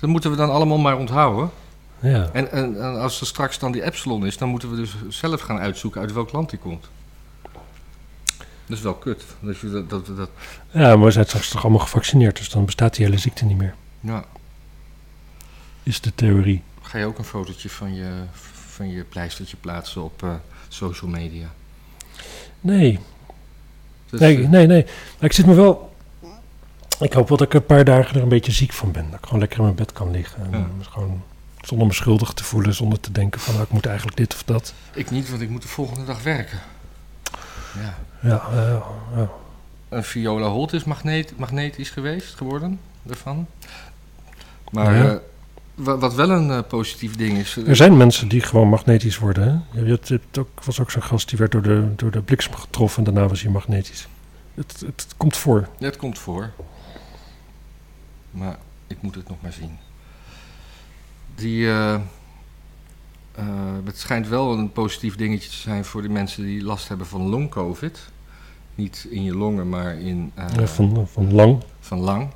[SPEAKER 1] Dat moeten we dan allemaal maar onthouden.
[SPEAKER 2] Ja.
[SPEAKER 1] En, en, en als er straks dan die epsilon is, dan moeten we dus zelf gaan uitzoeken uit welk land die komt. Dat is wel kut. Dat, je dat, dat, dat,
[SPEAKER 2] ja, maar we zijn straks toch allemaal gevaccineerd, dus dan bestaat die hele ziekte niet meer.
[SPEAKER 1] ja.
[SPEAKER 2] Is de theorie.
[SPEAKER 1] Ga je ook een fotootje van je, van je pleistertje plaatsen op eh, social media?
[SPEAKER 2] Nee,
[SPEAKER 1] Dus,
[SPEAKER 2] nee,
[SPEAKER 1] eh,
[SPEAKER 2] nee, nee. Maar ik zit me wel... Ik hoop wel dat ik een paar dagen er een beetje ziek van ben. Dat ik gewoon lekker in mijn bed kan liggen. En
[SPEAKER 1] Ja.
[SPEAKER 2] gewoon zonder me schuldig te voelen, zonder te denken van... nou, ik moet eigenlijk dit of dat.
[SPEAKER 1] Ik niet, want ik moet de volgende dag werken. Ja.
[SPEAKER 2] Ja, eh, ja.
[SPEAKER 1] Een Viola Holt is magneet, magnetisch geweest, geworden, daarvan. Maar
[SPEAKER 2] Ja.
[SPEAKER 1] eh, wa- wat wel een eh, positief ding is... eh,
[SPEAKER 2] Er zijn mensen die gewoon magnetisch worden. Hè? Je hebt, je hebt ook, was ook zo'n gast die werd door de, door de bliksem getroffen en daarna was hij magnetisch. Het, het komt voor.
[SPEAKER 1] Het komt voor. Maar ik moet het nog maar zien. Die, eh, eh, het schijnt wel een positief dingetje te zijn voor de mensen die last hebben van long-covid. Niet in je longen, maar in, eh,
[SPEAKER 2] Ja,
[SPEAKER 1] van...
[SPEAKER 2] van, van lang.
[SPEAKER 1] lang.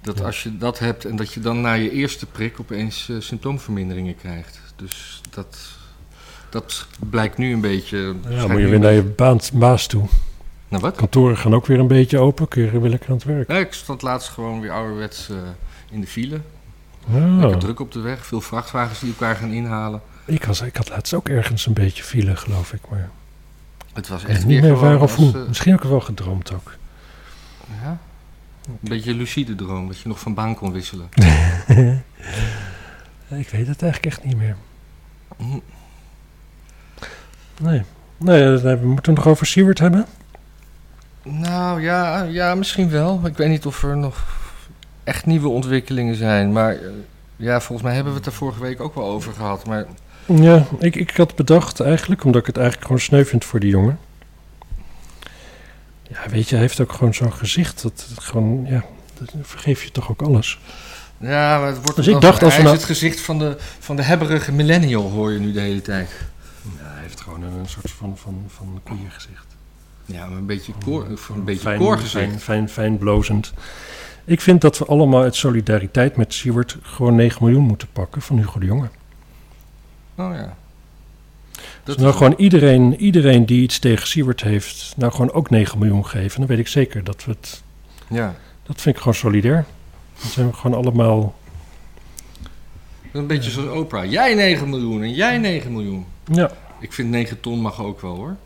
[SPEAKER 1] Dat
[SPEAKER 2] Ja.
[SPEAKER 1] als je dat hebt en dat je dan na je eerste prik opeens eh, symptoomverminderingen krijgt. Dus dat, dat blijkt nu een beetje...
[SPEAKER 2] Ja,
[SPEAKER 1] schijnt
[SPEAKER 2] moet je
[SPEAKER 1] nu
[SPEAKER 2] weer
[SPEAKER 1] een
[SPEAKER 2] naar je
[SPEAKER 1] beetje-
[SPEAKER 2] baan, baas toe.
[SPEAKER 1] Naar wat?
[SPEAKER 2] Kantoren gaan ook weer een beetje open. Kun je weer lekker aan het werk.
[SPEAKER 1] Ja, ik stond laatst gewoon weer ouderwets eh, in de file.
[SPEAKER 2] Ja.
[SPEAKER 1] Lekker druk op de weg, veel vrachtwagens die elkaar gaan inhalen.
[SPEAKER 2] Oh. Ik, was, ik had laatst ook ergens een beetje file, geloof ik. Maar
[SPEAKER 1] Het was echt
[SPEAKER 2] echt
[SPEAKER 1] weer
[SPEAKER 2] niet meer
[SPEAKER 1] gewoon
[SPEAKER 2] waar of
[SPEAKER 1] als,
[SPEAKER 2] hoe.
[SPEAKER 1] eh,
[SPEAKER 2] Misschien heb ik wel gedroomd ook.
[SPEAKER 1] ja, een beetje een lucide droom, dat je nog van baan kon wisselen.
[SPEAKER 2] ik weet het eigenlijk echt niet meer. Mm.
[SPEAKER 1] Hm.
[SPEAKER 2] Nee. Nee, eh, we moeten het nog over Seward hebben.
[SPEAKER 1] Nou ja, ja, misschien wel. Ik weet niet of er nog echt nieuwe ontwikkelingen zijn. Maar eh, ja, volgens mij hebben we het er vorige week ook wel over gehad. Maar
[SPEAKER 2] Ja, ik, ik had bedacht eigenlijk, omdat ik het eigenlijk gewoon sneu vind voor die jongen. Ja, weet je, hij heeft ook gewoon zo'n gezicht. Dat het gewoon, ja, dat vergeef je toch ook alles.
[SPEAKER 1] ja, maar het wordt
[SPEAKER 2] Dus
[SPEAKER 1] wel-
[SPEAKER 2] ik dacht als
[SPEAKER 1] hij
[SPEAKER 2] we
[SPEAKER 1] is
[SPEAKER 2] nou-
[SPEAKER 1] het gezicht van de, van de hebberige millennial, hoor je nu de hele tijd.
[SPEAKER 2] Ja, hij heeft gewoon een, soort van, van, van koeiengezicht.
[SPEAKER 1] Ja, maar een beetje koor, of een beetje
[SPEAKER 2] Oh, fijn,
[SPEAKER 1] koorgezicht.
[SPEAKER 2] Fijn, fijn, fijn blozend. Ik vind dat we allemaal uit solidariteit met Siewert gewoon 9 miljoen moeten pakken van Hugo de Jonge.
[SPEAKER 1] Oh ja.
[SPEAKER 2] Dus nou gewoon iedereen, iedereen die iets tegen Siewert heeft, nou gewoon ook 9 miljoen geven. Dan weet ik zeker dat we het
[SPEAKER 1] Ja.
[SPEAKER 2] Dat vind ik gewoon solidair. Dan zijn we gewoon allemaal.
[SPEAKER 1] Een beetje zoals Oprah. Jij 9 miljoen en jij 9 miljoen.
[SPEAKER 2] Ja,
[SPEAKER 1] Ik vind 9 ton mag ook wel hoor.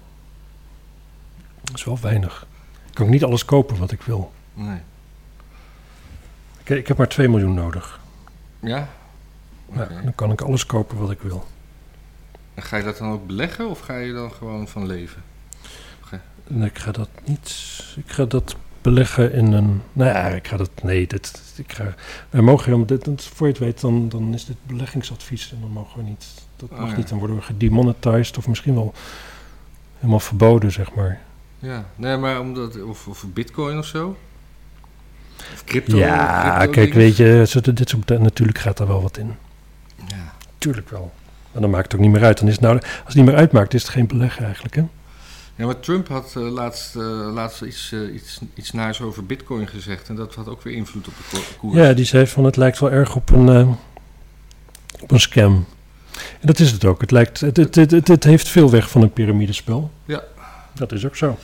[SPEAKER 2] dat is wel weinig. Ik kan ook niet alles kopen wat ik wil.
[SPEAKER 1] Nee.
[SPEAKER 2] Ik, ik heb maar 2 miljoen nodig.
[SPEAKER 1] Ja?
[SPEAKER 2] Ja,
[SPEAKER 1] Oké.
[SPEAKER 2] dan kan ik alles kopen wat ik wil.
[SPEAKER 1] En ga je dat dan ook beleggen of ga je dan gewoon van leven?
[SPEAKER 2] En ik ga dat niet. Ik ga dat beleggen in een. Nou ja, ik ga dat. Nee, dit, ik ga, wij mogen helemaal. Dit, dit- voor je het weet, dan, dan is dit beleggingsadvies. En dan mogen we niet. Dat mag
[SPEAKER 1] Oh ja.
[SPEAKER 2] niet. Dan worden we gedemonetized. Of misschien wel helemaal verboden, zeg maar.
[SPEAKER 1] Ja. Nee, maar omdat... Of, of bitcoin of zo? Of crypto?
[SPEAKER 2] ja,
[SPEAKER 1] crypto
[SPEAKER 2] kijk,
[SPEAKER 1] dingen?
[SPEAKER 2] weet je. zo- Dit soort, natuurlijk gaat daar wel wat in.
[SPEAKER 1] Ja.
[SPEAKER 2] Tuurlijk wel. Maar dan maakt het ook niet meer uit. Dan is het nou, als het niet meer uitmaakt, is het geen beleggen eigenlijk. Hè?
[SPEAKER 1] ja, maar Trump had eh, laatst, eh, laatst iets, eh, iets, iets naars over bitcoin gezegd. En dat had ook weer invloed op de ko- koers.
[SPEAKER 2] Ja, die zei van het lijkt wel erg op een, eh, op een scam. En dat is het ook. Het, lijkt, het, het, het, het- het heeft veel weg van een piramidespel.
[SPEAKER 1] Ja.
[SPEAKER 2] Dat is ook zo.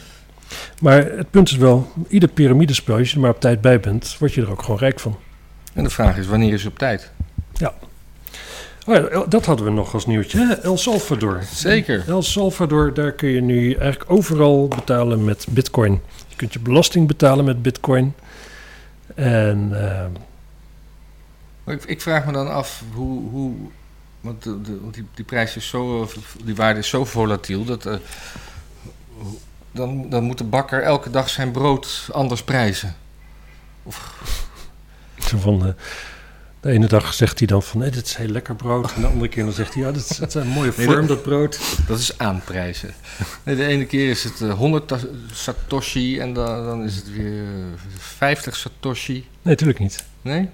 [SPEAKER 2] Maar het punt is wel, ieder piramidespel, als je er maar op tijd bij bent, word je er ook gewoon rijk van.
[SPEAKER 1] En de vraag is, wanneer is het op tijd?
[SPEAKER 2] Oh ja, El- dat hadden we nog als nieuwtje. hè? El Salvador.
[SPEAKER 1] Zeker.
[SPEAKER 2] El Salvador, daar kun je nu eigenlijk overal betalen met bitcoin. Je kunt je belasting betalen met bitcoin. En eh,
[SPEAKER 1] Maar Ik, ik vraag me dan af hoe. hoe want de, de- want die, die prijs is zo. eh, Die waarde is zo volatiel dat. eh, hoe- dan, dan moet de bakker elke dag zijn brood anders prijzen.
[SPEAKER 2] zo van, eh, de ene dag zegt hij dan van, nee, dit is heel lekker brood. En de andere keer dan zegt hij, ja, dit is, het is een mooie
[SPEAKER 1] Nee,
[SPEAKER 2] vorm, dat, brood.
[SPEAKER 1] Dat is
[SPEAKER 2] (laughs)
[SPEAKER 1] aanprijzen. Nee, de ene keer is het eh, 100 ta- satoshi en dan, dan is het weer eh, 50 satoshi.
[SPEAKER 2] Nee, tuurlijk niet.
[SPEAKER 1] Nee?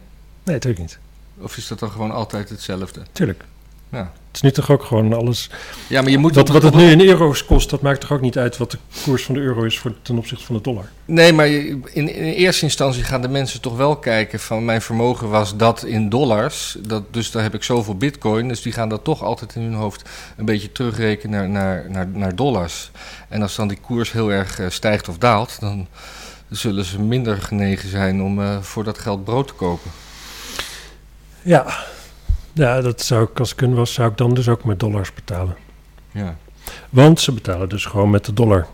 [SPEAKER 2] Nee, tuurlijk niet.
[SPEAKER 1] Of is dat dan gewoon altijd hetzelfde?
[SPEAKER 2] Tuurlijk.
[SPEAKER 1] Ja.
[SPEAKER 2] Het is nu toch ook gewoon alles.
[SPEAKER 1] Ja, maar je moet
[SPEAKER 2] Dat,
[SPEAKER 1] op-
[SPEAKER 2] wat het
[SPEAKER 1] op-
[SPEAKER 2] nu in euro's kost, dat maakt toch ook niet uit wat de koers van de euro is voor, ten opzichte van de dollar.
[SPEAKER 1] Nee, maar je- in, in eerste instantie gaan de mensen toch wel kijken van mijn vermogen was dat in dollars. Dat, dus daar heb ik zoveel bitcoin. Dus die gaan dat toch altijd in hun hoofd een beetje terugrekenen naar, naar, naar, naar dollars. En als dan die koers heel erg eh, stijgt of daalt, dan zullen ze minder genegen zijn om eh, voor dat geld brood te kopen.
[SPEAKER 2] Ja. ja, dat zou ik als ik hun was, zou ik dan dus ook met dollars betalen.
[SPEAKER 1] Ja.
[SPEAKER 2] Want ze betalen dus gewoon met de dollar.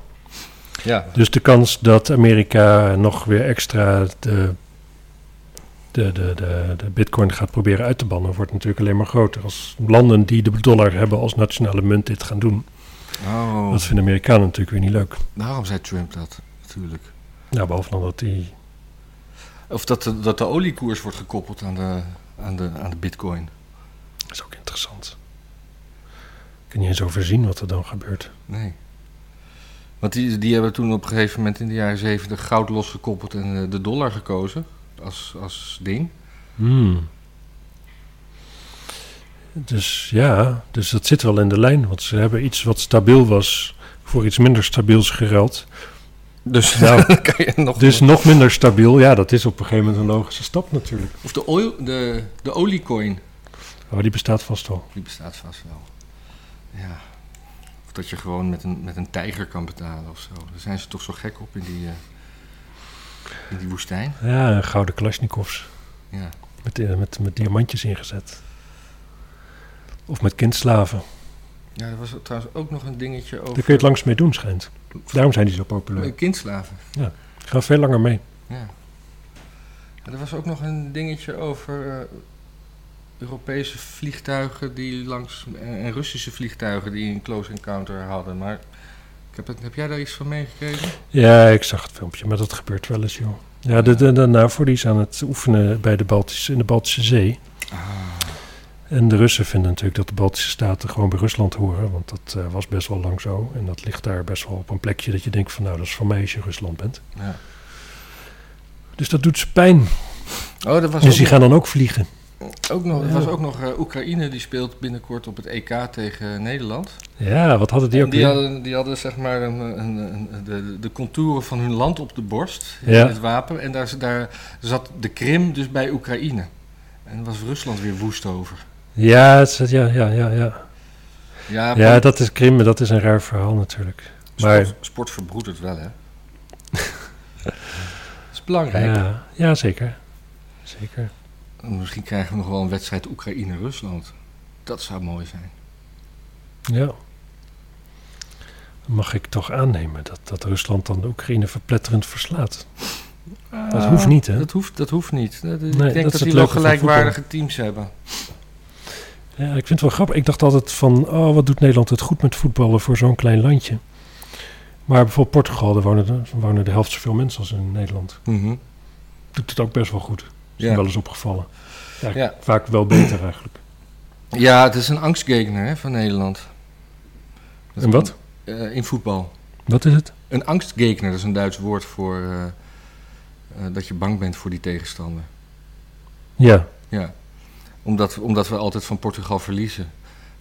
[SPEAKER 1] Ja,
[SPEAKER 2] Dus de kans dat Amerika nog weer extra de, de, de, de, de bitcoin gaat proberen uit te bannen, wordt natuurlijk alleen maar groter. Als landen die de dollar hebben als nationale munt dit gaan doen.
[SPEAKER 1] oh,
[SPEAKER 2] Dat vinden Amerikanen natuurlijk weer niet leuk.
[SPEAKER 1] daarom zei Trump dat natuurlijk.
[SPEAKER 2] Nou, behalve dan dat die...
[SPEAKER 1] Of dat de, dat de oliekoers wordt gekoppeld aan de, aan de, aan de bitcoin.
[SPEAKER 2] Dat is ook interessant. Ik kan niet eens overzien wat er dan gebeurt.
[SPEAKER 1] Nee. Want die, die hebben toen op een gegeven moment in de jaren zeventig goud losgekoppeld en eh, de dollar gekozen als, als ding. (laughs)
[SPEAKER 2] Hmm. Dus ja, dus dat zit wel in de lijn. Want ze hebben iets wat stabiel was voor iets minder stabiels geruild.
[SPEAKER 1] Dus (laughs)
[SPEAKER 2] Nou,
[SPEAKER 1] kan je nog.
[SPEAKER 2] Dus nog minder stabiel, ja, dat is op een gegeven moment een logische stap natuurlijk.
[SPEAKER 1] Of de, oil, de, de oliecoin,
[SPEAKER 2] Maar die bestaat vast wel.
[SPEAKER 1] die bestaat vast wel. Ja. Of dat je gewoon met een, met een tijger kan betalen of zo. Daar zijn ze toch zo gek op in die, eh, in die woestijn.
[SPEAKER 2] Ja, een gouden Kalashnikovs
[SPEAKER 1] Ja.
[SPEAKER 2] met, eh, met, met diamantjes ingezet. Of met kindslaven.
[SPEAKER 1] ja, dat was trouwens ook nog een dingetje
[SPEAKER 2] Daar
[SPEAKER 1] over.
[SPEAKER 2] kun je het langs mee doen, schijnt. Daarom zijn die zo populair.
[SPEAKER 1] Eh, Kindslaven.
[SPEAKER 2] Die gaan veel langer mee.
[SPEAKER 1] Ja. En er was ook nog een dingetje over eh, Europese vliegtuigen die langs eh, en, en Russische vliegtuigen die een close encounter hadden. Maar ik heb, het- heb jij daar iets van meegekregen?
[SPEAKER 2] Ja, ik zag het filmpje, maar dat gebeurt wel eens, joh. Ja, de, de, de NAVO die is aan het oefenen bij de Baltische, in de Baltische Zee.
[SPEAKER 1] Ah.
[SPEAKER 2] En de Russen vinden natuurlijk dat de Baltische Staten gewoon bij Rusland horen. Want dat eh, was best wel lang zo. En dat ligt daar best wel op een plekje dat je denkt van... nou, dat is van mij als je Rusland bent.
[SPEAKER 1] Ja.
[SPEAKER 2] Dus dat doet ze pijn.
[SPEAKER 1] Oh, er was
[SPEAKER 2] Dus die
[SPEAKER 1] ook,
[SPEAKER 2] gaan dan ook vliegen.
[SPEAKER 1] ook nog, er
[SPEAKER 2] Ja.
[SPEAKER 1] was ook nog eh, Oekraïne die speelt binnenkort op het EK tegen Nederland.
[SPEAKER 2] Ja, wat hadden die
[SPEAKER 1] En
[SPEAKER 2] ook
[SPEAKER 1] die,
[SPEAKER 2] weer?
[SPEAKER 1] hadden, die hadden zeg maar een, eh, een, een- de, de contouren van hun land op de borst,
[SPEAKER 2] Ja.
[SPEAKER 1] in het wapen. En daar, daar zat de Krim dus bij Oekraïne. En daar was Rusland weer woest over.
[SPEAKER 2] Ja, het is- ja, ja, ja, ja.
[SPEAKER 1] Ja,
[SPEAKER 2] Ja, dat is Krim, dat is een raar verhaal natuurlijk. Maar-
[SPEAKER 1] Sport, sport verbroedert wel, hè?
[SPEAKER 2] (laughs)
[SPEAKER 1] dat is belangrijk.
[SPEAKER 2] Ja, ja zeker. Zeker.
[SPEAKER 1] Misschien krijgen we nog wel een wedstrijd Oekraïne-Rusland. Dat zou mooi zijn.
[SPEAKER 2] Ja. Mag ik toch aannemen dat, dat Rusland dan de Oekraïne verpletterend verslaat? Dat hoeft niet, hè?
[SPEAKER 1] Ah. Dat hoeft, dat hoeft niet. Dat-
[SPEAKER 2] dat
[SPEAKER 1] ik
[SPEAKER 2] is
[SPEAKER 1] denk dat,
[SPEAKER 2] het
[SPEAKER 1] die wel
[SPEAKER 2] leuke van
[SPEAKER 1] gelijkwaardige teams hebben.
[SPEAKER 2] Ja, ik vind het wel grappig. Ik dacht altijd van, oh, wat doet Nederland het goed met voetballen voor zo'n klein landje. Maar bijvoorbeeld Portugal, daar wonen de, wonen de helft zoveel mensen als in Nederland. Doet het ook best wel goed. Is me
[SPEAKER 1] Ja.
[SPEAKER 2] wel eens opgevallen. Ja,
[SPEAKER 1] Ja.
[SPEAKER 2] Vaak wel beter eigenlijk.
[SPEAKER 1] ja, het is een angstgegner hè, van Nederland. Dat
[SPEAKER 2] En wat?
[SPEAKER 1] kan- eh, in voetbal.
[SPEAKER 2] Wat is het?
[SPEAKER 1] Een angstgegner, dat is een Duits woord voor eh, eh, dat je bang bent voor die tegenstander.
[SPEAKER 2] Ja.
[SPEAKER 1] Ja, omdat, omdat we altijd van Portugal verliezen.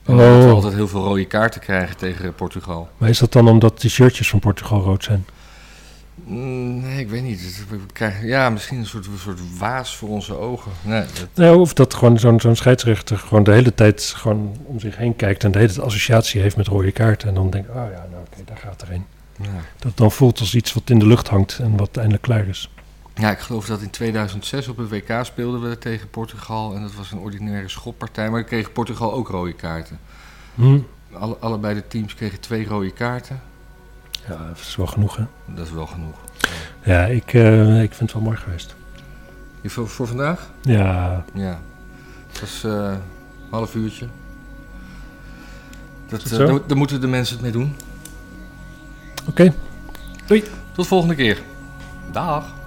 [SPEAKER 1] En
[SPEAKER 2] Oh.
[SPEAKER 1] omdat we altijd heel veel rode kaarten krijgen tegen Portugal.
[SPEAKER 2] Maar is dat dan omdat die shirtjes van Portugal rood zijn?
[SPEAKER 1] Mm, Nee, ik weet niet. Het- we krijgen- ja, misschien een soort, een soort waas voor onze ogen. Nee, dat-
[SPEAKER 2] Nou, of dat gewoon zo'n zo'n scheidsrechter gewoon de hele tijd gewoon om zich heen kijkt en de hele tijd associatie heeft met rode kaarten. En dan denkt, oh ja, nou oké, daar gaat er een.
[SPEAKER 1] ja.
[SPEAKER 2] Dat het dan voelt als iets wat in de lucht hangt en wat eindelijk klaar is.
[SPEAKER 1] ja, ik geloof dat in 2006 op het WK speelden we tegen Portugal. En dat was een ordinaire schoppartij. Maar dan kreeg Portugal ook rode kaarten.
[SPEAKER 2] Hm.
[SPEAKER 1] Alle, allebei de teams kregen twee rode kaarten.
[SPEAKER 2] Ja, Eh, dat is wel genoeg hè.
[SPEAKER 1] Dat is wel genoeg.
[SPEAKER 2] Ja, ik, eh, ik vind het wel mooi geweest.
[SPEAKER 1] Je voor, voor vandaag?
[SPEAKER 2] Ja,
[SPEAKER 1] Ja. Dat is eh, een half uurtje. Dat,
[SPEAKER 2] Is het
[SPEAKER 1] eh,
[SPEAKER 2] zo?
[SPEAKER 1] daar, daar moeten de mensen het mee doen.
[SPEAKER 2] oké.
[SPEAKER 1] Tot volgende keer. Dag.